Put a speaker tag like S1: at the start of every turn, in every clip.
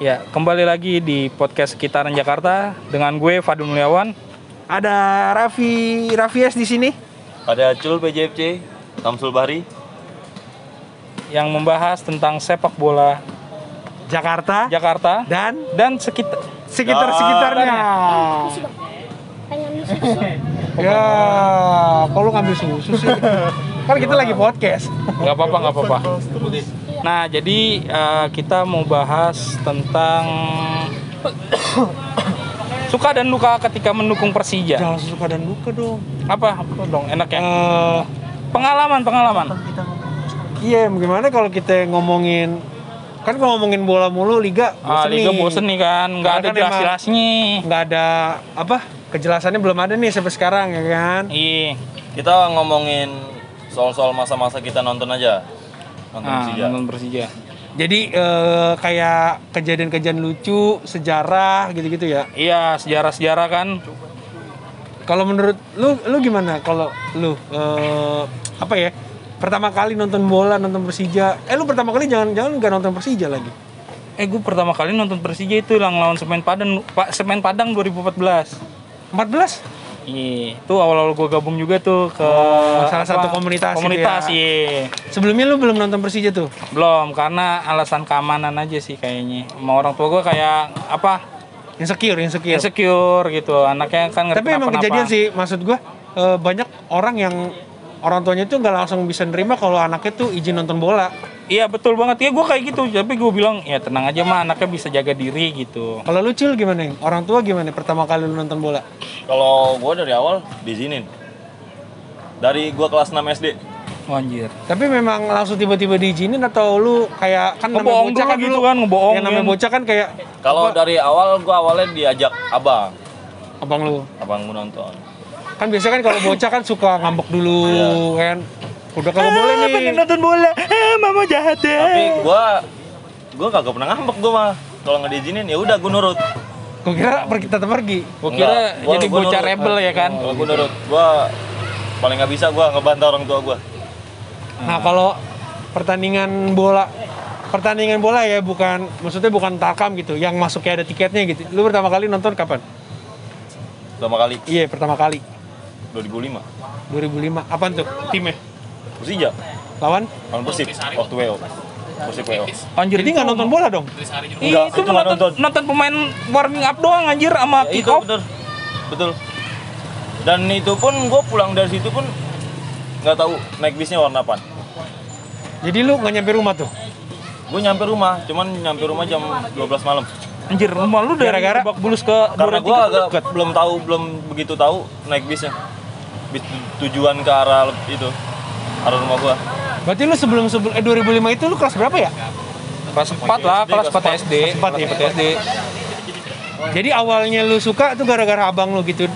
S1: Ya, kembali lagi di podcast sekitaran Jakarta dengan gue Fadul Mulyawan. Ada Raffi Raffies di sini
S2: Ada Cul PJFC, Tamsul Bahri.
S1: yang membahas tentang sepak bola
S3: Jakarta
S1: Jakarta
S3: dan
S1: dan sekitar
S3: sekitar-sekitarnya. Ya, kalau ngambil susu sih. kan kita lagi podcast.
S1: nggak apa-apa nggak apa-apa. Nah, jadi eh, kita mau bahas tentang suka dan luka ketika mendukung Persija.
S3: Jangan suka dan duka dong.
S1: Apa dong enaknya?
S3: Eh,
S1: Pengalaman pengalaman.
S3: iya, gimana kalau kita ngomongin kan kalau ngomongin bola mulu liga
S1: Ah,
S3: bosen
S1: Liga
S3: nih.
S1: bosen nih kan, nggak ada
S3: Karena kan emang-
S1: jelas-jelasnya.
S3: nggak ada apa kejelasannya belum ada nih sampai sekarang ya kan
S1: Iya.
S2: Kita ngomongin soal-soal masa-masa kita nonton aja. Nonton
S1: Ah,
S2: Persija.
S1: nonton Persija.
S3: jadi eh, kayak kejadian-kejadian lucu sejarah gitu-gitu ya
S1: Iya, sejarah-sejarah kan.
S3: Kalau menurut lu, lu gimana? Kalau lu eh, apa ya? Pertama kali nonton bola, nonton Persija. Eh lu pertama kali jangan jangan nggak nonton Persija lagi.
S1: Eh, gue pertama kali nonton Persija itu yang lawan Semen Padang, Pak Semen Padang 2014.
S3: 14?
S1: Iya, itu awal-awal gue gabung juga tuh ke
S3: Oh, salah satu komunitas gitu
S1: Komunitas,
S3: ya.
S1: iya.
S3: Sebelumnya lu belum nonton Persija tuh.
S1: Belum, karena alasan keamanan aja sih kayaknya. Sama orang tua gue kayak apa?
S3: Insecure, insecure.
S1: Insecure gitu. Anaknya kan ngerti
S3: Tapi emang kejadian sih maksud gua eh, banyak orang yang orang tuanya tuh nggak langsung bisa nerima kalau anaknya tuh izin nonton bola.
S1: Iya betul banget ya gue kayak gitu tapi gue bilang ya tenang aja mah anaknya bisa jaga diri gitu
S3: Kalau lu cil gimana? Yang? Orang tua gimana? Pertama kali lu nonton bola?
S2: Kalau gue dari awal diizinin. Dari gue kelas 6 SD.
S1: oh, anjir
S3: Tapi memang langsung tiba-tiba diizinin atau lu kayak kan namanya
S1: Ngebohong
S3: bocah
S1: dulu
S3: kan
S1: gitu
S3: dulu-
S1: kan, ngebohongin.
S3: Yang namanya bocah kan kayak
S2: Kalau dari awal gue awalnya diajak abang.
S3: abang lu
S2: Abang gue nonton.
S3: kan biasanya kan kalau bocah kan suka ngambek dulu kan udah kalau
S1: Ah,
S3: boleh nih
S1: nonton bola Ah, mama jahat ya.
S2: Tapi
S1: Eh.
S2: gue gue kagak pernah ngambek gue mah. Kalau nggak diizinin ya udah gue nurut.
S3: gue kira pergi tetap pergi
S1: gue kira
S2: Enggak, gua-
S1: jadi
S2: gua
S1: bocah
S2: nurut.
S1: rebel ya kan
S2: Kalau gue nurut, gue paling nggak bisa gue ngebantah orang tua gue.
S3: nah kalau pertandingan bola pertandingan bola ya bukan maksudnya bukan tarkam gitu yang masuknya ada tiketnya gitu lu pertama kali nonton kapan
S2: Pertama kali
S3: iya pertama kali
S2: 2005.
S3: 2005 apaan tuh timnya
S2: Persija.
S3: lawan
S2: Lawan Persib waktu WO. Persib WO.
S1: anjir
S3: jadi nggak nonton bola dong
S1: Ih,
S2: Enggak,
S1: Iya, itu
S2: itu
S1: mah
S2: nggak
S1: nonton, Iya,
S2: nonton.
S1: nonton pemain warming up doang anjir sama
S2: Ya,
S1: kick
S2: itu
S1: off
S2: betul. Betul. Dan itu pun gue pulang dari situ pun nggak tahu naik bisnya warna apa.
S3: jadi lu nggak nyampe rumah tuh
S2: Gue nyampe rumah, cuman nyampe rumah jam 12 malam.
S1: anjir rumah lu dari
S3: Gara-gara-
S1: Lebak bulus ke
S2: Karena
S1: Duren
S2: gue
S1: Tiga
S2: agak
S1: deket.
S2: belum tahu, belum begitu tahu naik bisnya. Bis tu- tujuan ke arah itu, arah rumah gue.
S3: berarti lu sebelum sebelum eh 2005 itu lu kelas berapa ya
S1: kelas 4 lah kelas 4 SD
S3: Kelas
S1: kelas ya.
S3: empat
S1: 4 SD
S3: jadi awalnya lu suka tuh gara-gara abang lu gitu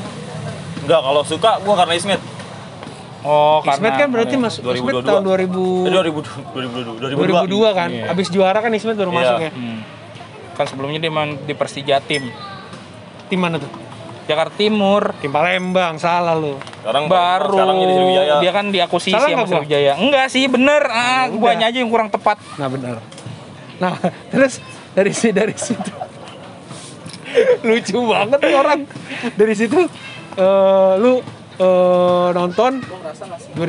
S2: Enggak, kalau suka gue karena Ismet.
S1: oh karena
S3: Ismet kan berarti masuk Ismet
S2: 2022.
S3: tahun 2000
S2: Eh, 2002, 2002, 2002.
S3: 2002 kan,
S1: Iya.
S3: abis juara kan Ismet baru
S2: Iya.
S3: masuk ya.
S1: Hmm. kan sebelumnya dia main di Persija tim
S3: Tim mana tuh?
S1: Jakarta Timur
S3: Tim Palembang, salah lu.
S2: Sekarang
S1: baru
S2: Oh, sekarang jadi Sriwijaya.
S1: dia kan diakuisisi
S3: Salah
S1: sama
S3: nggak gua?
S1: Sriwijaya enggak sih bener ah guanya aja yang kurang tepat
S3: Nah benar. Nah terus dari si dari situ lucu banget nih orang. Dari situ eh, lu eh, nonton 2005,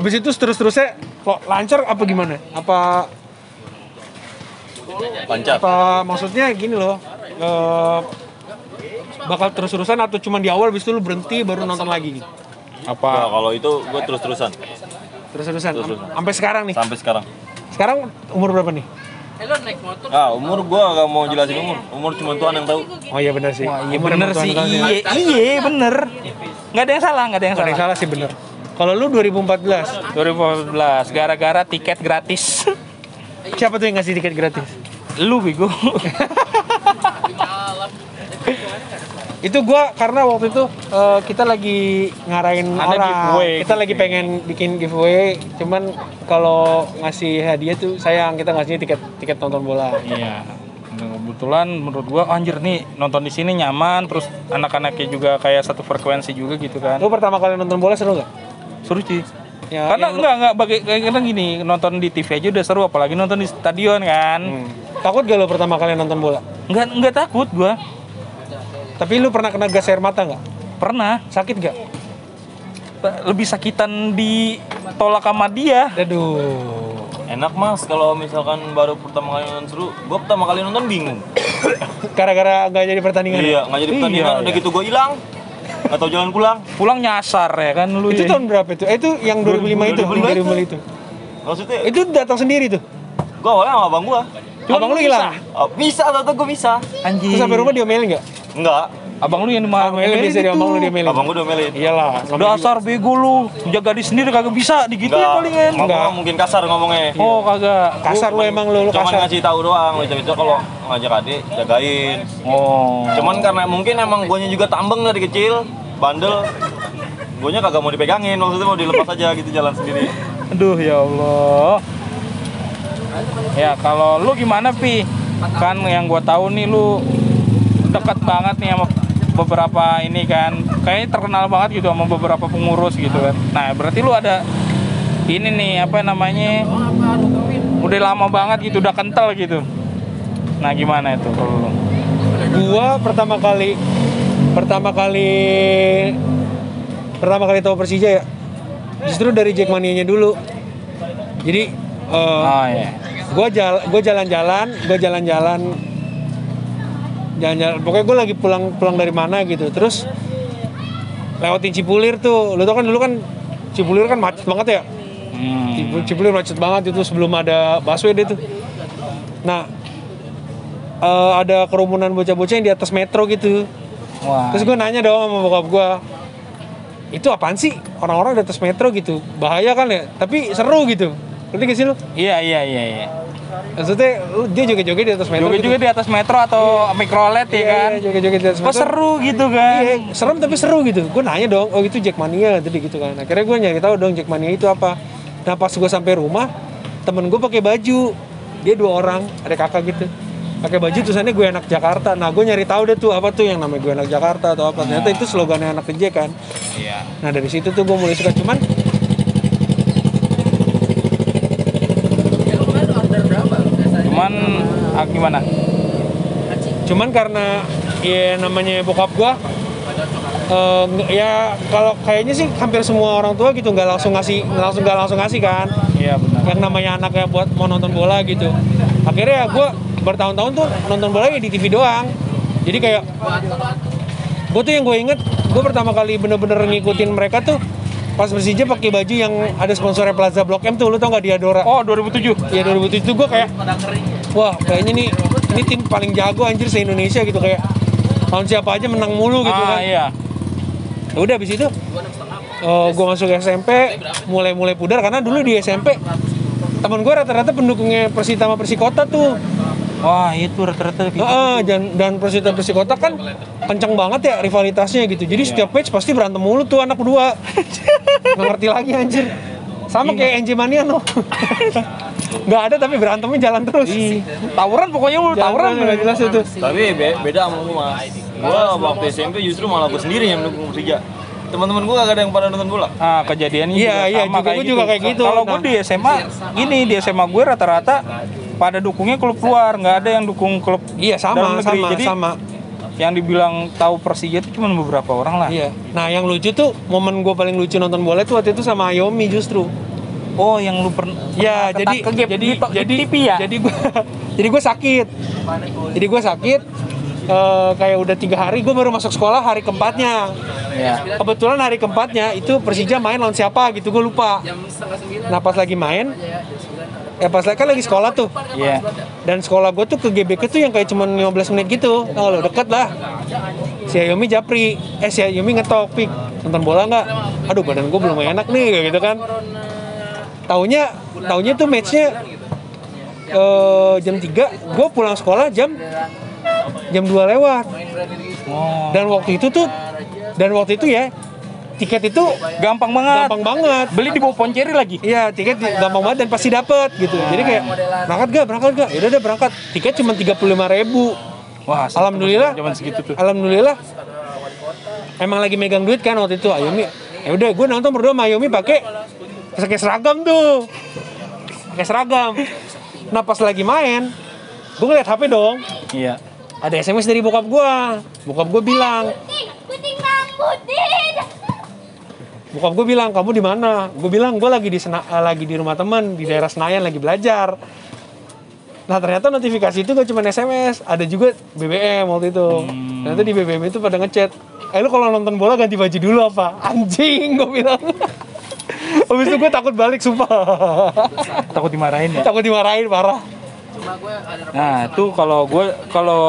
S3: abis itu terus terusnya kok lancar apa gimana? Apa
S2: Lancar.
S3: apa maksudnya gini loh? eh, bakal terus-terusan atau cuma di awal abis itu lu berhenti baru nonton lagi gitu?
S2: Nah,
S1: apa
S2: kalau itu gue terus-terusan
S3: Terus-terusan am-
S2: Terus-terusan.
S3: sampai sekarang nih.
S2: sampai sekarang.
S3: Sekarang umur berapa nih?
S2: Ah, umur gua gak mau jelasin umur. Umur cuma Tuhan yang tahu.
S3: Oh iya benar sih.
S1: iya
S3: Umur
S1: bener
S3: emang
S1: sih
S3: Tuhan
S1: iya
S3: kan ya.
S1: iya bener nggak ada yang salah nggak ada yang
S3: Nggak
S1: salah
S3: ada yang salah sih benar. Kalau lu 2014,
S1: 2014 gara-gara tiket gratis
S3: siapa tuh yang ngasih tiket gratis?
S1: lu bego
S3: Itu gua karena waktu itu eh, kita lagi ngarahin
S1: Ada
S3: orang.
S1: giveaway.
S3: Kita lagi pengen bikin giveaway, cuman kalau ngasih hadiah tuh sayang kita ngasihnya tiket tiket nonton bola.
S1: iya Nah, kebetulan menurut gua "Oh, anjir nih nonton di sini nyaman terus anak-anaknya juga kayak satu frekuensi juga gitu kan
S3: Lu pertama kali nonton bola seru nggak?
S1: seru sih
S3: Ya,
S1: karena enggak enggak bagai karena gini nonton di TV aja udah seru apalagi nonton di stadion kan
S3: Hmm. Takut gak lo pertama kali nonton bola?
S1: nggak nggak takut gua
S3: Tapi lu pernah kena gas air mata nggak?
S1: pernah
S3: Sakit gak?
S1: lebih sakitan di tolak sama dia
S3: Aduh.
S2: Enak mas kalau misalkan baru pertama kali nonton seru, gua pertama kali nonton bingung.
S3: Gara-gara nggak jadi pertandingan. ya?
S2: iya, nggak jadi pertandingan,
S1: Iya,
S2: udah
S1: iya.
S2: gitu gua hilang. Gak tau jalan pulang.
S1: pulang nyasar ya kan lu ya.
S3: Itu tahun berapa itu? Eh, itu yang 2005 itu,
S2: 2005
S3: yang 2005 itu.
S2: Maksudnya,
S3: Itu datang sendiri tuh.
S2: gua awalnya sama abang gua.
S1: Cuman
S3: Abang lu
S1: bisa.
S3: hilang.
S2: Oh, bisa atau gua bisa?
S1: anjing
S3: Terus sampai rumah diomelin nggak?
S2: Enggak.
S1: abang lu yang dimarahin
S3: Diomelin biasa
S1: gitu.
S3: diomong lu diomelin.
S2: Abang gua
S1: Iya,
S2: domelin.
S3: Iyalah, namanya
S1: dasar bego lu jaga di sendiri kagak bisa digitu ya paling kan
S2: ngomong
S3: Enggak.
S2: mungkin kasar ngomongnya.
S1: oh kagak
S3: juga- kasar lu emang lu, lu
S2: Cuman
S3: kasar.
S2: ngasih tahu doang, itu kalau ngajak adik jagain.
S1: oh
S2: Cuman karena mungkin emang guanya juga tambeng dari kecil, bandel. Guanya kagak mau dipegangin, maksudnya mau dilepas aja gitu jalan sendiri.
S1: aduh ya Allah ya kalau lu gimana pi kan yang gua tahu nih lu dekat banget nih sama beberapa ini kan kayaknya terkenal banget gitu sama beberapa pengurus gitu kan nah berarti lu ada ini nih apa namanya udah lama banget gitu udah kental gitu nah gimana itu kalau lu?
S3: Gua pertama kali pertama kali pertama kali tahu Persija ya justru dari Jackmania-nya dulu. Jadi eh,
S1: oh ya
S3: gue jal gue jalan-jalan gue jalan-jalan jalan-jalan pokoknya gue lagi pulang pulang dari mana gitu terus lewatin Cipulir tuh lu tau kan dulu kan Cipulir kan macet banget ya
S1: Hmm.
S3: Cipu- Cipulir macet banget itu sebelum ada busway deh tuh nah eh, ada kerumunan bocah-bocah yang di atas metro gitu
S1: Wah.
S3: Terus gue nanya dong sama bokap gue, itu apaan sih orang-orang di atas metro gitu? Bahaya kan ya? Tapi seru gitu. Ngerti gak sih lu?
S1: Iya iya iya iya.
S3: Maksudnya lu- dia joget-joget di atas metro
S1: Joget
S3: gitu.
S1: juga di atas metro atau mikrolet ya kan.
S3: Iya, joget-joget di atas
S1: Kok
S3: metro.
S1: seru gitu
S3: Iya,
S1: kan.
S3: serem tapi seru gitu. Gue nanya dong, oh itu Jackmania tadi gitu kan. Akhirnya gue nyari tahu dong Jackmania itu apa. Nah pas gue sampai rumah, temen gue pakai baju. Dia dua orang, ada kakak gitu. Pakai baju tulisannya gue anak Jakarta. Nah gue nyari tahu deh tuh apa tuh yang namanya gue anak Jakarta atau apa. Ternyata itu slogannya anak kerja kan.
S1: Iya.
S3: Nah dari situ tuh gue mulai suka cuman
S1: Cuman ah, gimana?
S3: cuman karena ya namanya bokap gua eh, nge- ya kalau kayaknya sih hampir semua orang tua gitu nggak langsung ngasih nggak langsung nggak langsung ngasih kan
S1: Iya benar.
S3: yang namanya anaknya buat mau nonton bola gitu akhirnya ya gue bertahun-tahun tuh nonton bola ya di TV doang jadi kayak gue tuh yang gue inget gue pertama kali bener-bener ngikutin mereka tuh pas Persija pakai baju yang ada sponsornya Plaza Blok M tuh lu tau gak Diadora
S1: Oh 2007.
S3: ya 2007 itu gue kayak wah kayaknya nih ini tim paling jago anjir se Indonesia gitu kayak lawan siapa aja menang mulu gitu
S1: ah
S3: kan
S1: iya.
S3: Ya udah abis itu gue masuk SMP mulai mulai pudar karena dulu di SMP teman gue rata-rata pendukungnya Persita sama Persikota tuh
S1: Wah itu rata-rata gitu.
S3: Heeh, dan dan Persita Persikota kan kenceng banget ya rivalitasnya gitu
S1: Iya.
S3: jadi setiap match pasti berantem mulu tuh anak berdua nggak ngerti lagi anjir sama
S1: Iya.
S3: kayak NJ Mania noh nggak ada tapi berantemnya jalan terus
S1: Ih, Tawuran pokoknya lu tawuran.
S3: tawuran nggak jelas itu
S2: Tapi be- beda sama gua mas. Gua waktu SMP justru malah gua sendiri yang mendukung Persija. Teman-teman gua kagak ada yang pada nonton bola.
S1: Ah kejadiannya
S3: Iya, iya,
S1: sama
S3: juga- gua juga kayak gitu.
S1: Kalau gue
S3: Nah.
S1: di SMA gini di SMA gue rata-rata pada dukungnya klub luar, nggak ada yang dukung klub
S3: Iya
S1: dalam negeri.
S3: sama sama
S1: Jadi
S3: sama.
S1: yang dibilang tahu Persija itu cuma beberapa orang lah.
S3: Iya. Nah yang lucu tuh momen gue paling lucu nonton bola itu waktu itu sama Ayomi justru.
S1: Oh, yang lu pernah
S3: Ya
S1: pernah
S3: jadi
S1: ketak- kegep
S3: jadi
S1: di to- di
S3: jadi
S1: TV ya.
S3: jadi gue jadi gue sakit. Jadi gue sakit. eh, kayak udah tiga hari gue baru masuk sekolah hari keempatnya.
S1: Iya.
S3: Kebetulan hari keempatnya itu Persija main lawan siapa gitu gue lupa. Nah pas lagi main, ya pas lagi kan lagi sekolah tuh.
S1: Iya.
S3: Dan sekolah gue tuh ke GBK tuh yang kayak cuma 15 menit gitu. Nah, lo deket lah. Si Ayomi Japri, eh si Ayomi ngetok, Pik, nonton bola nggak? Aduh badan gue belum enak nih, gitu kan. Taunya, taunya tuh matchnya eh, jam 3, gue pulang sekolah jam jam 2 lewat.
S1: Oh.
S3: Dan waktu itu tuh, dan waktu itu ya, tiket itu
S1: Gampang banget.
S3: gampang banget.
S1: Beli di bawah Ponceri lagi.
S3: Iya, tiket gampang banget dan pasti dapet gitu. Jadi kayak berangkat gak, berangkat gak? Yaudah deh berangkat. Tiket cuma 35.000 ribu.
S1: Wah,
S3: Alhamdulillah.
S1: zaman segitu tuh.
S3: Alhamdulillah. Emang lagi megang duit kan waktu itu Ayomi. Ya udah, gue nonton berdua sama Ayomi pakai pakai seragam tuh. Pakai seragam. Nah pas lagi main, gue ngeliat HP dong
S1: Iya.
S3: ada SMS dari bokap gue bokap gue bilang
S4: Puting, puting rambutin.
S3: bokap gue bilang kamu di mana gue bilang gue lagi di Sena- eh, lagi di rumah teman di daerah Senayan lagi belajar nah ternyata notifikasi itu gak cuma SMS ada juga BBM waktu itu ternyata di BBM itu pada ngechat eh lu kalau nonton bola ganti baju dulu apa anjing gue bilang Habis itu gue takut balik sumpah
S1: Takut dimarahin ya.
S3: Takut dimarahin parah
S1: Nah, itu kalau gue kalau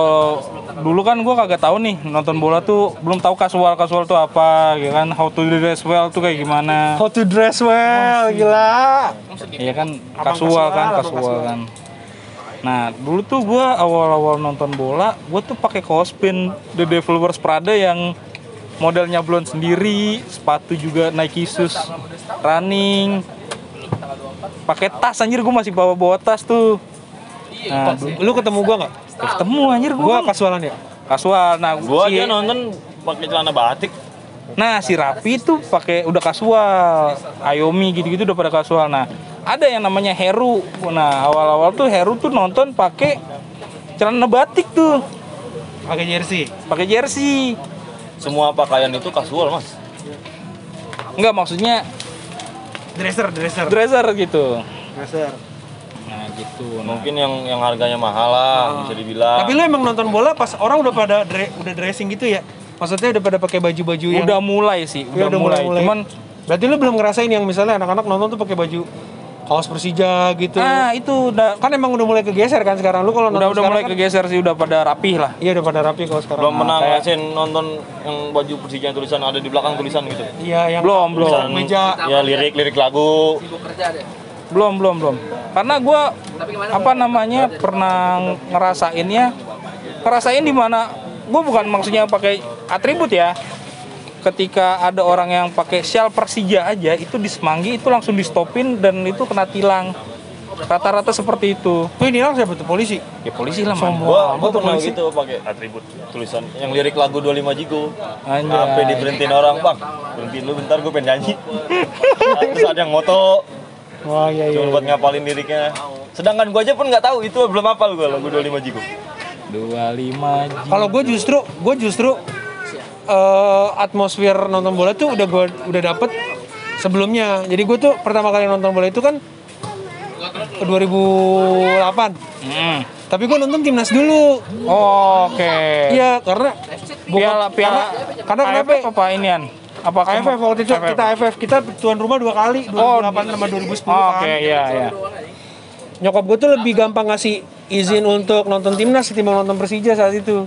S1: dulu kan gue kagak tahu nih nonton bola tuh belum tahu casual casual tuh apa, ya kan? How to dress well tuh kayak gimana?
S3: How to dress well, gila
S1: Iya kan
S3: Abang
S1: casual kan,
S3: casual, abang
S1: casual
S3: casual.
S1: kan. Nah, dulu tuh gue awal-awal nonton bola, gue tuh pakai cosplay The Developers Prada yang modelnya blond sendiri, sepatu juga Nike Shoes running. Pakai tas anjir gue masih bawa-bawa tas tuh. Nah, dulu-
S3: Lu ketemu gue gak?
S1: ketemu anjir gue.
S3: Gue kasualan ya?
S1: kasual. Nah,
S2: Gua
S1: si-
S2: aja nonton pakai celana batik.
S1: Nah, si Rapi itu pakai udah kasual. Ayomi gitu-gitu udah pada kasual. Nah, ada yang namanya Heru. Nah, awal-awal tuh Heru tuh nonton pakai celana batik tuh,
S3: Pakai jersey
S1: pakai jersey.
S2: Semua pakaian itu kasual, Mas.
S1: Enggak maksudnya
S3: Dresser, dresser
S1: dresser gitu.
S3: Dresser
S1: Nah, gitu. Nah,
S2: Mungkin yang yang harganya mahal lah, bisa dibilang.
S3: Tapi lu emang nonton bola pas orang udah pada dre- udah dressing gitu ya? Maksudnya udah pada pakai baju-baju yang
S1: udah mulai sih,
S3: Ya,
S1: udah, mulai. Cuman
S3: berarti lu belum ngerasain yang misalnya anak-anak nonton tuh pakai baju kaos Persija gitu.
S1: nah itu udah
S3: Kan emang udah mulai kegeser kan sekarang lu kalau nonton
S1: udah udah
S3: sekarang
S1: mulai
S3: kan-
S1: kegeser sih, udah pada rapih lah.
S3: Iya udah pada rapi kalau sekarang.
S2: belum pernah
S1: kayak-
S2: ngerasain nonton yang baju Persija yang tulisan ada di belakang tulisan gitu.
S3: Iya yang
S1: Belum, belum.
S3: tulisan meja.
S2: Ya lirik-lirik lagu.
S1: belum belum belum karena gua apa namanya pernah ngerasainnya ngerasain di mana gue bukan maksudnya pakai atribut ya ketika ada orang yang pakai sial Persija aja itu di Semanggi itu langsung di stopin dan itu kena tilang rata-rata seperti itu
S3: Tuh ini orang siapa tuh polisi?
S1: ya polisi lah man.
S2: Gua, gua pernah gitu pakai atribut tulisan yang lirik lagu 25 Jigo.
S1: Anjay.
S2: Sampai diberhentiin orang, Bang. Berhentiin lu bentar gua pengen nyanyi. Terus ada yang moto
S3: Wah iya iya.
S2: cuma buat ngapalin liriknya. Sedangkan gua aja pun nggak tahu itu belum hafal gua lagu 25 Jigo.
S1: 25
S3: Kalau gue justru gue justru eh, atmosfer nonton bola tuh udah gua udah dapet sebelumnya. Jadi gue tuh pertama kali nonton bola itu kan 2008.
S1: Hmm.
S3: Tapi gue nonton timnas dulu.
S1: oke
S3: Iya karena
S1: piala piala
S3: karena- karena kenapa?
S1: AFF apa inian apa
S3: AFF waktu itu kita AFF kita tuan rumah dua kali 2008 sama 2010
S1: Oh, oke
S3: kan.
S1: iya iya
S3: Nyokap gue tuh lebih gampang ngasih izin untuk nonton timnas ketimbang nonton Persija saat itu.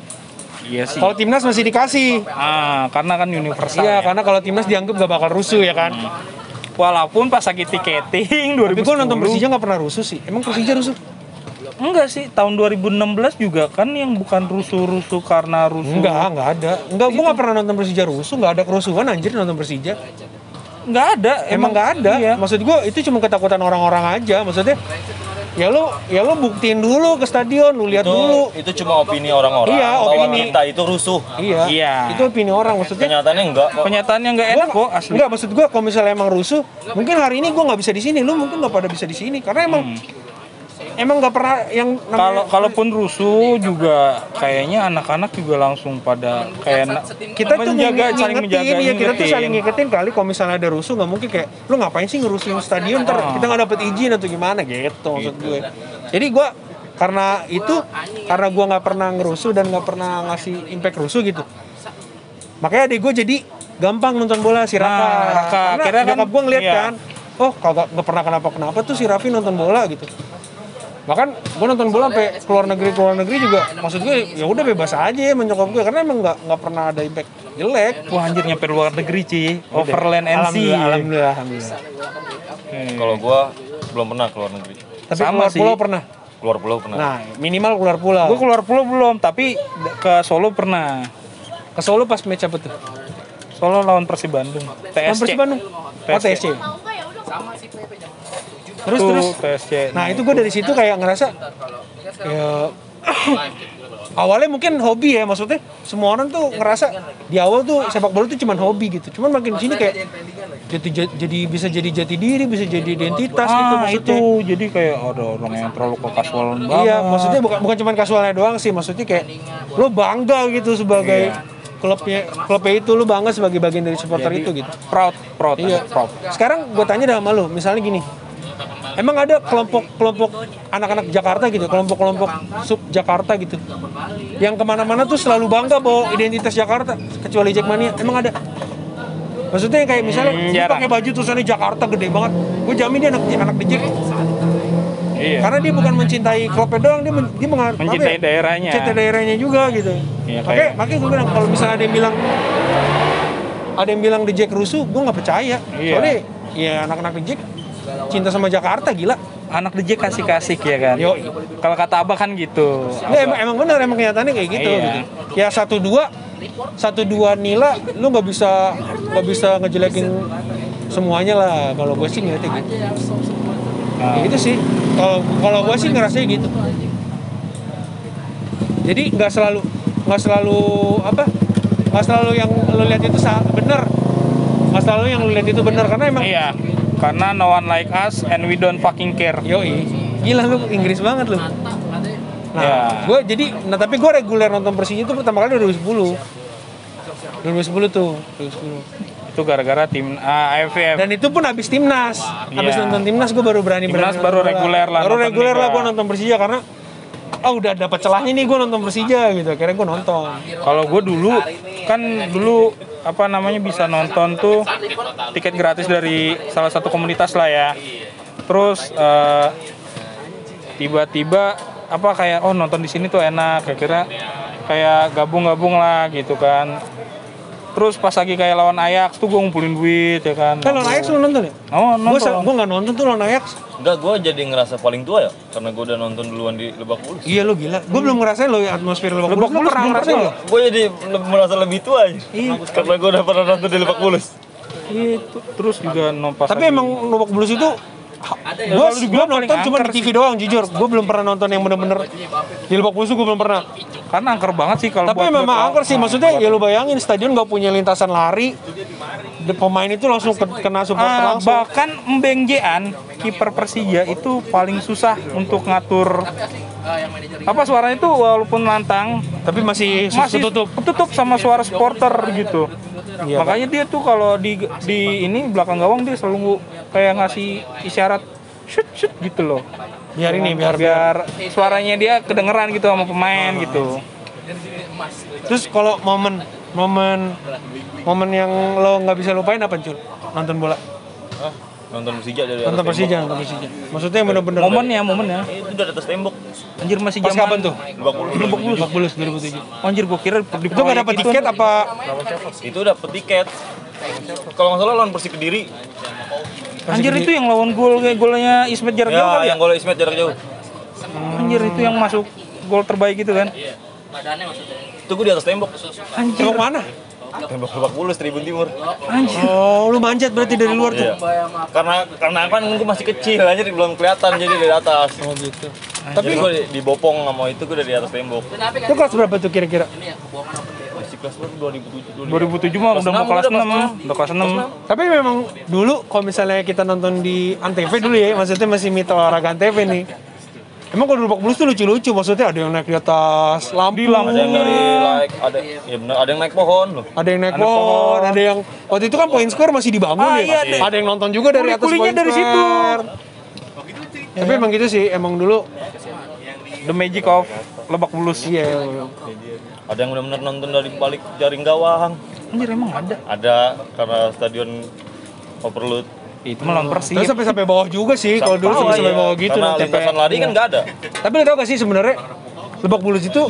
S1: iya sih
S3: Kalau timnas masih dikasih.
S1: Ah, karena kan universal.
S3: Iya,
S1: ya. Hmm.
S3: karena kalau timnas dianggap gak bakal rusuh ya kan.
S1: Walaupun pas lagi tiketing
S3: Tapi
S1: 2010.
S3: gue nonton Persija gak pernah rusuh sih. Emang Persija rusuh?
S1: Enggak sih, tahun 2016 juga kan yang bukan rusuh-rusuh karena rusuh.
S3: Enggak, enggak ada. Enggak, gue gak pernah nonton Persija rusuh. Gak ada kerusuhan anjir nonton Persija.
S1: Enggak ada.
S3: Emang gak ada.
S1: Iya.
S3: Maksud gue itu cuma ketakutan orang-orang aja. Maksudnya ya lo ya lo buktiin dulu ke stadion, lu lihat
S2: Itu
S3: dulu.
S2: itu cuma opini orang-orang
S3: Iya,
S2: bahwa
S3: opini.
S2: kita itu rusuh.
S3: Iya.
S1: Iya.
S3: Itu opini orang maksudnya.
S2: Kenyataannya enggak kok.
S1: Kenyataannya enggak
S3: Gua
S1: enak kok asli.
S3: Enggak, maksud gue kalau misalnya emang rusuh, mungkin hari ini gue nggak bisa di sini, lu mungkin nggak pada bisa di sini karena emang emang nggak pernah yang namanya-
S1: Hmm. Kalau kalaupun rusuh juga kayaknya anak-anak juga langsung pada kayak na-
S3: kita tuh
S1: menjaga
S3: ngingetin,
S1: saling menjaga
S3: ya kita tuh
S1: ngingetin.
S3: saling ngingetin kali kalau misalnya ada rusuh nggak mungkin kayak lu ngapain sih ngerusuhin stadion ntar
S1: Oh.
S3: kita nggak dapet izin atau gimana gitu maksud gue jadi gue karena itu karena gue nggak pernah ngerusuh dan nggak pernah ngasih impact rusuh gitu makanya adik gue jadi gampang nonton bola si Raka,
S1: Nah, Raka.
S3: karena
S1: Akhirnya kan-
S3: nyokap gue ngeliat
S1: iya.
S3: kan oh kagak nggak pernah kenapa kenapa tuh si Raffi nonton bola gitu bahkan gue nonton bola sampai keluar negeri keluar negeri juga maksud gue ya udah bebas aja menyokap gue karena emang nggak nggak pernah ada impact jelek
S1: Wah anjir nyampe luar negeri, Ci. Overland NC.
S3: alhamdulillah alhamdulillah, alhamdulillah.
S2: Kalau gua belum pernah keluar negeri.
S3: tapi
S1: Sama
S3: keluar
S1: sih.
S3: pulau pernah
S2: Keluar pulau pernah.
S3: nah minimal keluar pulau
S1: Gue keluar pulau belum, tapi ke Solo pernah.
S3: ke Solo pas match apa tuh
S1: Solo lawan Persib Bandung.
S3: Lawan
S1: TSC.
S3: Persib Bandung oh
S1: TSC.
S3: TSC terus
S1: Tuh,
S3: terus
S1: TSC.
S3: nah itu gue dari situ kayak ngerasa ya awalnya mungkin hobi ya maksudnya semua orang tuh ngerasa di awal tuh sepak bola tuh cuman hobi gitu cuman makin sini kayak jadi, jadi jadi bisa jadi jati diri bisa jadi identitas gitu
S1: ah
S3: maksudnya
S1: itu jadi kayak ada orang yang terlalu ke kasualan banget
S3: Iya, maksudnya bukan bukan cuma kasualnya doang sih, maksudnya kayak lo bangga gitu sebagai
S1: Iya.
S3: klubnya klubnya itu lo bangga sebagai bagian dari supporter itu gitu.
S1: proud proud
S3: Iya.
S1: proud
S3: Sekarang gue tanya dah sama lo, misalnya gini, emang ada kelompok-kelompok anak-anak Jakarta gitu, kelompok-kelompok sub Jakarta gitu, yang kemana-mana tuh selalu bangga bawa identitas Jakarta, kecuali Jackmania, emang ada? Maksudnya yang kayak misalnya
S1: Hmm,
S3: dia
S1: jarang.
S3: pakai baju tulisannya Jakarta gede banget, gue jamin dia anak anak The Jack
S1: iya
S3: karena dia bukan mencintai klubnya doang, dia, men, dia mengar-
S1: Mencintai
S3: apa ya?
S1: daerahnya.
S3: Mencintai daerahnya juga gitu.
S1: Iya,
S3: Oke,
S1: kayak-
S3: makanya gue bilang kalau misalnya ada yang bilang ada yang bilang The Jack rusuh, gue nggak percaya.
S1: Iya.
S3: Soalnya ya anak-anak The Jack cinta sama Jakarta gila.
S1: anak DJ kasih kasih ya kan
S3: Yoi.
S1: kalau kata abah kan gitu
S3: Ini emang, emang bener, emang kenyataannya kayak gitu.
S1: Iya.
S3: gitu. Ya satu dua, satu dua nila, lu nggak bisa nggak bisa ngejelekin semuanya lah. Kalau gue sih ngeliatnya gitu. Ya, itu sih. Kalau kalau gue sih ngerasanya gitu. Jadi nggak selalu nggak selalu apa? Nggak selalu yang lo lihat itu sa- bener. Nggak selalu yang lo lihat itu bener karena emang.
S1: iya karena no one like us and we don't fucking care
S3: Yoi. Gila lu Inggris banget lu. Nah,
S1: Ya.
S3: gue jadi, nah tapi gue reguler nonton Persija itu pertama kali 2010. 2010 tuh, 2010.
S1: itu gara-gara tim ah, AFF
S3: Dan itu pun habis timnas, habis
S1: Iya.
S3: nonton timnas gue baru berani
S1: Timnas
S3: berani
S1: baru
S3: nonton bola.
S1: reguler lah
S3: Baru
S1: nonton
S3: reguler lah
S1: Liga.
S3: gue nonton Persija karena ah udah dapat celahnya nih gue nonton Persija gitu, akhirnya gue nonton.
S1: kalau gue dulu kan dulu apa namanya bisa nonton tuh tiket gratis dari salah satu komunitas lah ya terus eh, tiba-tiba apa kayak oh nonton di sini tuh enak akhirnya kayak gabung-gabung lah gitu kan terus pas lagi kayak lawan Ajax tuh gue ngumpulin duit ya kan
S3: Kan lawan Ajax lu nonton ya?
S1: Oh, nonton.
S3: Gue gue nggak nonton tuh lawan Ajax.
S2: Enggak, gue jadi ngerasa paling tua ya karena gue udah nonton duluan di Lebak Bulus.
S3: Iya lu gila, gue belum ngerasain lo atmosfer Lebak
S1: Lebak
S3: Bulus. Lu
S1: Bulus
S3: pernah
S1: belum
S3: ngerasain
S1: pernah.
S3: lo?
S2: Gue jadi le- merasa lebih tua aja. Karena gue udah pernah nonton di Lebak Bulus.
S1: Itu terus juga no, pas
S3: Tapi
S1: lagi-
S3: emang Lubak Bulus itu gue
S1: Kalau dibilang
S3: gue
S1: paling
S3: nonton cuma di
S1: angker
S3: TV doang jujur gue belum pernah nonton yang bener-bener di Lubak Bulus gue belum pernah
S1: karena angker banget sih kalau
S3: tapi
S1: buat-
S3: memang
S1: buat-
S3: angker sih
S1: nah,
S3: maksudnya
S1: buat-
S3: ya lu bayangin stadion gak punya lintasan lari de- pemain itu langsung ke- kena supporter
S1: Ah,
S3: langsung
S1: bahkan Mbengjean kiper Persija itu paling susah untuk ngatur apa suaranya itu walaupun lantang
S3: tapi masih sus-
S1: masih
S3: tutup Iya,
S1: ketutup sama suara supporter gitu makanya dia tuh kalau di di ini belakang gawang dia selalu kayak ngasih isyarat shoot shoot gitu loh
S3: biar ini biar biar
S1: biar suaranya dia kedengeran gitu sama pemain gitu
S3: terus kalau momen momen momen yang lo nggak bisa lupain apa cul nonton bola
S2: Hah? Nonton Persija dari
S3: nonton
S2: atas
S3: Persija nonton Persija maksudnya yang bener-bener
S1: momennya momennya
S2: tembok. Itu dari atas tembok.
S1: ya, anjir masih
S3: Ah. pas
S1: zaman
S3: kapan tuh
S2: Lebak Bulus.
S3: Lubak Bulus 2007
S1: anjir gua kira di gitu.
S3: itu nggak
S1: iya,
S3: dapat tiket apa
S2: Itu dapet tiket. Kalau nggak salah lawan Persik Kediri.
S1: anjir itu yang lawan gol kayak golnya Ismet jarak jauh
S2: Ya,
S1: kali ya
S2: yang gol Ismet jarak jauh.
S1: Anjir itu yang masuk gol terbaik gitu kan.
S3: Iya,
S2: Itu gue di atas tembok.
S1: Anjir.
S3: Tembok mana?
S2: Tembok Lebak Bulus, Tribun Timur.
S1: Anjir.
S3: Oh, lu manjat berarti dari luar tuh.
S2: Iya. Karena karena kan gue masih kecil aja belum kelihatan jadi dari atas.
S3: Oh gitu.
S2: Tapi gue dibopong sama itu gue dari atas tembok.
S3: Itu kelas berapa tuh kira-kira?
S2: Masih kelas berapa? 2007
S1: 2007 mah udah mau kelas 6, udah kelas 6.
S3: Tapi memang dulu kalau misalnya kita nonton di Antv dulu ya, maksudnya masih mita olahraga Antv nih. Emang kalau di Lubak Bulus tuh lucu-lucu, maksudnya ada yang naik di atas lampu,
S2: Ada yang dari like ada ya benar ada yang naik pohon loh.
S3: ada yang naik
S1: Ada
S3: pohon,
S1: pohon.
S3: ada yang waktu itu kan Point Square masih dibangun
S1: Ah,
S3: ya.
S1: iya,
S3: Masih. Ada yang nonton juga dari atas
S1: Kuli-kulinya
S3: Point
S1: dari situ.
S3: Square. Tapi emang gitu sih, emang dulu
S1: The Magic of Lebak Bulus.
S3: iya.
S2: Ada yang benar-benar nonton dari balik jaring gawang.
S1: Anjir emang ada.
S2: Ada karena stadion overload.
S1: Itu mah lawan
S3: Terus
S1: Persib.
S3: sampai sampai bawah juga sih, kalau dulu Iya. sampai sampai bawah gitu
S2: iya. Karena
S3: nanti.
S2: lintasan lari kan nggak ada.
S3: Tapi lo tau gak sih sebenarnya Lebak Bulus itu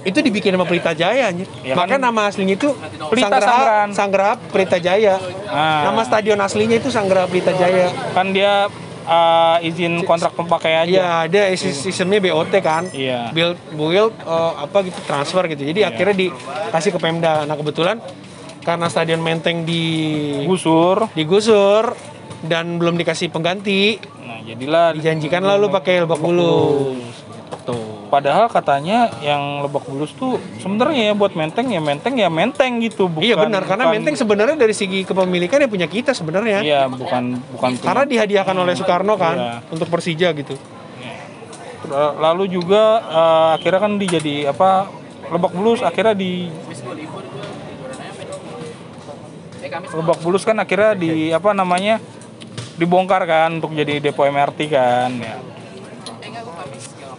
S3: itu dibikin sama Pelita Jaya anjir.
S1: Ya kan?
S3: Makanya nama aslinya itu
S1: Pelita
S3: Sanggraha-
S1: Sanggrahan.
S3: Sanggraha Pelita Jaya.
S1: Ah.
S3: Nama stadion aslinya itu Sanggraha Pelita Jaya.
S1: Kan dia uh, izin kontrak pemakai aja.
S3: Iya, dia sis- sistemnya BOT kan.
S1: Iya.
S3: Build build eh, apa gitu transfer gitu. Jadi akhirnya dikasih ke Pemda. Nah, kebetulan karena stadion Menteng di
S1: Gusur.
S3: digusur dan belum dikasih pengganti,
S1: Nah, jadilah
S3: dijanjikan lalu pakai Lebak Bulus. Tuh.
S1: Padahal katanya yang Lebak Bulus tuh sebenarnya ya buat menteng ya menteng ya menteng gitu bukan.
S3: iya benar karena
S1: bukan-
S3: menteng sebenarnya dari segi kepemilikan ya punya kita sebenarnya
S1: Iya bukan bukan. punya-
S3: karena dihadiahkan oleh Soekarno kan
S1: Iya.
S3: untuk Persija gitu
S1: Lalu juga eh, akhirnya kan dijadi apa Lebak Bulus akhirnya di Lebak Bulus kan akhirnya di apa namanya dibongkar kan untuk jadi depo MRT kan ya.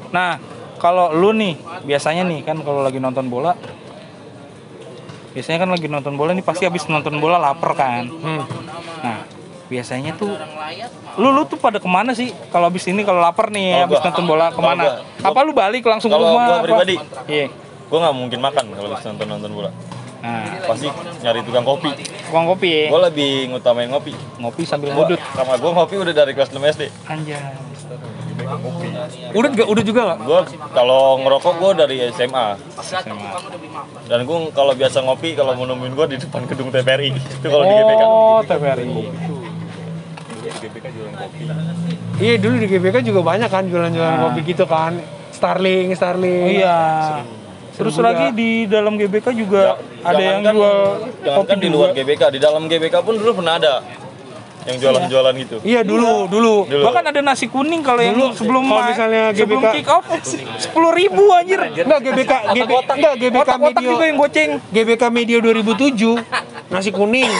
S1: Nah, kalau lu nih biasanya nih kan kalau lagi nonton bola biasanya kan lagi nonton bola nih pasti habis nonton bola lapar kan.
S2: Hmm.
S1: Nah, biasanya tuh lu lu tuh pada kemana sih kalau habis ini kalau lapar nih
S2: Kalau
S1: habis
S2: gua-
S1: nonton bola kemana?
S2: kalau gua-
S1: apa lu balik langsung ke
S2: kalau
S1: rumah?
S2: gua
S1: apa?
S2: pribadi.
S1: Iya.
S2: Gue nggak mungkin makan kalau habis nonton nonton bola.
S1: Nah,
S2: Pasti nyari tukang kopi.
S1: tukang kopi ya.
S2: Gue lebih ngutamain ngopi.
S1: Ngopi sambil
S2: Gua,
S1: ngudut.
S2: sama gue ngopi udah dari kelas 6 SD.
S1: Anjay.
S3: udah gak udah juga nggak
S2: Gue kalau ngerokok gue dari SMA. Dan gue kalau biasa ngopi kalau mau nemuin gue di depan gedung TPRI. Itu kalau di GBK.
S1: Oh, TVRI.
S3: iya dulu di GBK juga banyak kan jualan-jualan
S1: Nah.
S3: kopi gitu kan Starling
S1: Oh
S3: Starling
S1: iya. Terus
S3: Seru juga.
S1: lagi di dalam GBK juga ada
S2: Jangan
S1: yang
S2: kan-
S1: jual
S2: jangan
S1: kopi
S2: kan di luar
S1: juga.
S2: GBK, di dalam GBK pun dulu pernah ada yang jualan-jualan gitu.
S3: iya dulu dulu
S2: Dulu.
S1: Bahkan kan ada nasi kuning kalau yang sebelum
S3: kalau
S1: ma-
S3: misalnya
S1: sebelum
S3: GBK
S1: kick off 10 ribu anjir.
S2: Iya.
S3: Enggak GBK, GB, enggak GBK
S1: Iya. Otak-otak
S3: Medio.
S1: juga yang goceng.
S3: GBK Medio 2007, nasi kuning,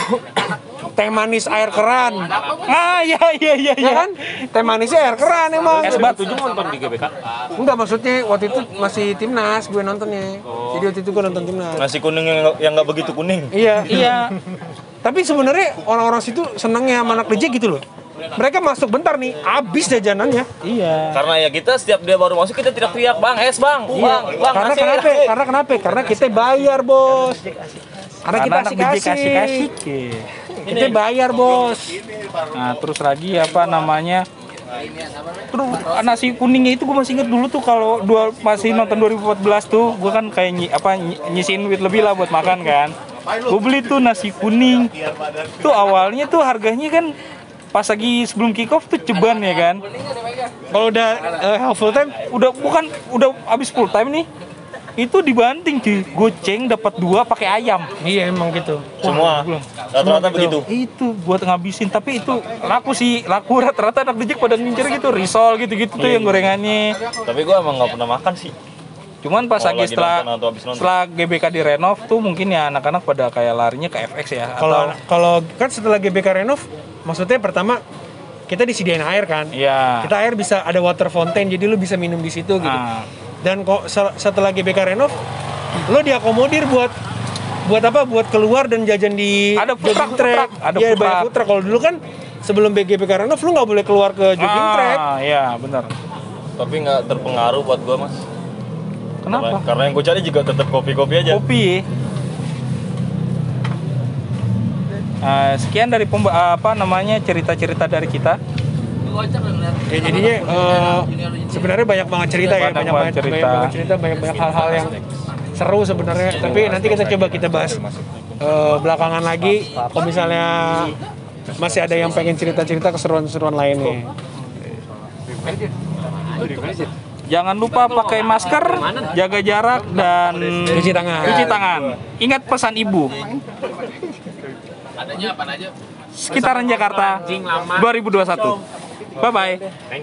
S3: teh manis air keran.
S1: Ah iya iya iya
S3: Ya
S1: iya.
S3: kan? Teh manisnya air keran emang.
S1: Es batu
S3: Enggak maksudnya waktu itu masih timnas gue nontonnya.
S1: Oh.
S3: Jadi waktu itu gue nonton timnas.
S2: Nasi kuning yang yang nggak begitu kuning.
S3: Iya.
S1: Iya.
S3: Tapi sebenarnya orang-orang situ senengnya sama anak rejek gitu loh. Mereka masuk bentar nih, habis jajanannya.
S1: Iya.
S2: Karena ya kita setiap dia baru masuk kita teriak-teriak, "Bang, es, Bang."
S1: Iya.
S2: Bang, Bang,
S3: Karena
S2: nasi,
S3: kenapa?
S2: nasi."
S3: Karena kenapa? Karena kita bayar, Bos. Karena kita
S1: Karena anak bijik
S3: asik-asik.
S1: asik-asik. iya.
S3: Kita bayar, Bos.
S1: Nah, terus lagi apa namanya? Terus nasi kuningnya itu gue masih inget dulu tuh kalau dua masih nonton 2014 tuh gue kan kayak nyi- apa nyi- nyisiin duit lebih lah buat makan kan. Gue beli tuh nasi kuning. Tuh awalnya tuh harganya kan pas lagi sebelum kick off tuh ceban ya kan.
S3: Kalau udah eh, full time
S1: Udah bukan udah habis full time nih. Itu dibanting cuy, goceng dapat dua pakai ayam.
S3: Iya emang gitu.
S2: Semua rata-rata
S1: gitu.
S2: begitu.
S1: itu buat ngabisin tapi itu laku sih laku rata-rata anak dejek pada ngincer gitu risol gitu-gitu
S2: Iya,
S1: tuh yang gorengannya
S2: Tapi gua emang nggak pernah makan sih.
S1: cuman pas
S2: Kalau
S1: lagi
S2: Oh, lagi nonton
S1: setelah
S2: atau habis nonton.
S1: setelah GBK direnov tuh mungkin ya anak-anak pada kayak larinya ke FX ya
S3: Kalau
S1: atau
S3: kalau kan setelah GBK renov, maksudnya pertama kita disediain air kan.
S1: ya
S3: Kita air bisa ada water fountain, jadi lu bisa minum di situ gitu.
S1: Ah.
S3: Dan kok se- setelah GBK renov, lu diakomodir buat buat apa? Buat keluar dan jajan di
S1: Ada food
S3: jogging
S1: truck, food
S3: track.
S1: truck. Ada
S3: Iya,
S1: food
S3: banyak
S1: truck.
S3: food truck. Kalau dulu kan sebelum GBK renov lu nggak boleh keluar ke jogging track.
S1: ah ya benar
S2: Tapi nggak terpengaruh buat gua, Mas. Karena,
S1: kenapa
S2: karena yang gue cari juga tetap kopi-kopi aja.
S1: kopi Eh, sekian dari pemba- apa namanya cerita-cerita dari kita
S3: Ya jadinya eh, sebenarnya banyak banget cerita ya,
S1: Banyak
S3: banyak
S1: banget
S3: banget cerita,
S1: cerita.
S3: banyak banget cerita, banyak banyak hal-hal yang seru sebenarnya. Tapi nanti kita coba kita bahas eh, belakangan lagi. Kalau misalnya masih ada yang pengen cerita-cerita keseruan-keseruan lainnya.
S1: jangan lupa pakai masker jaga jarak dan
S3: Cuci tangan.
S1: cuci tangan ingat pesan ibu sekitaran Jakarta 2021 bye bye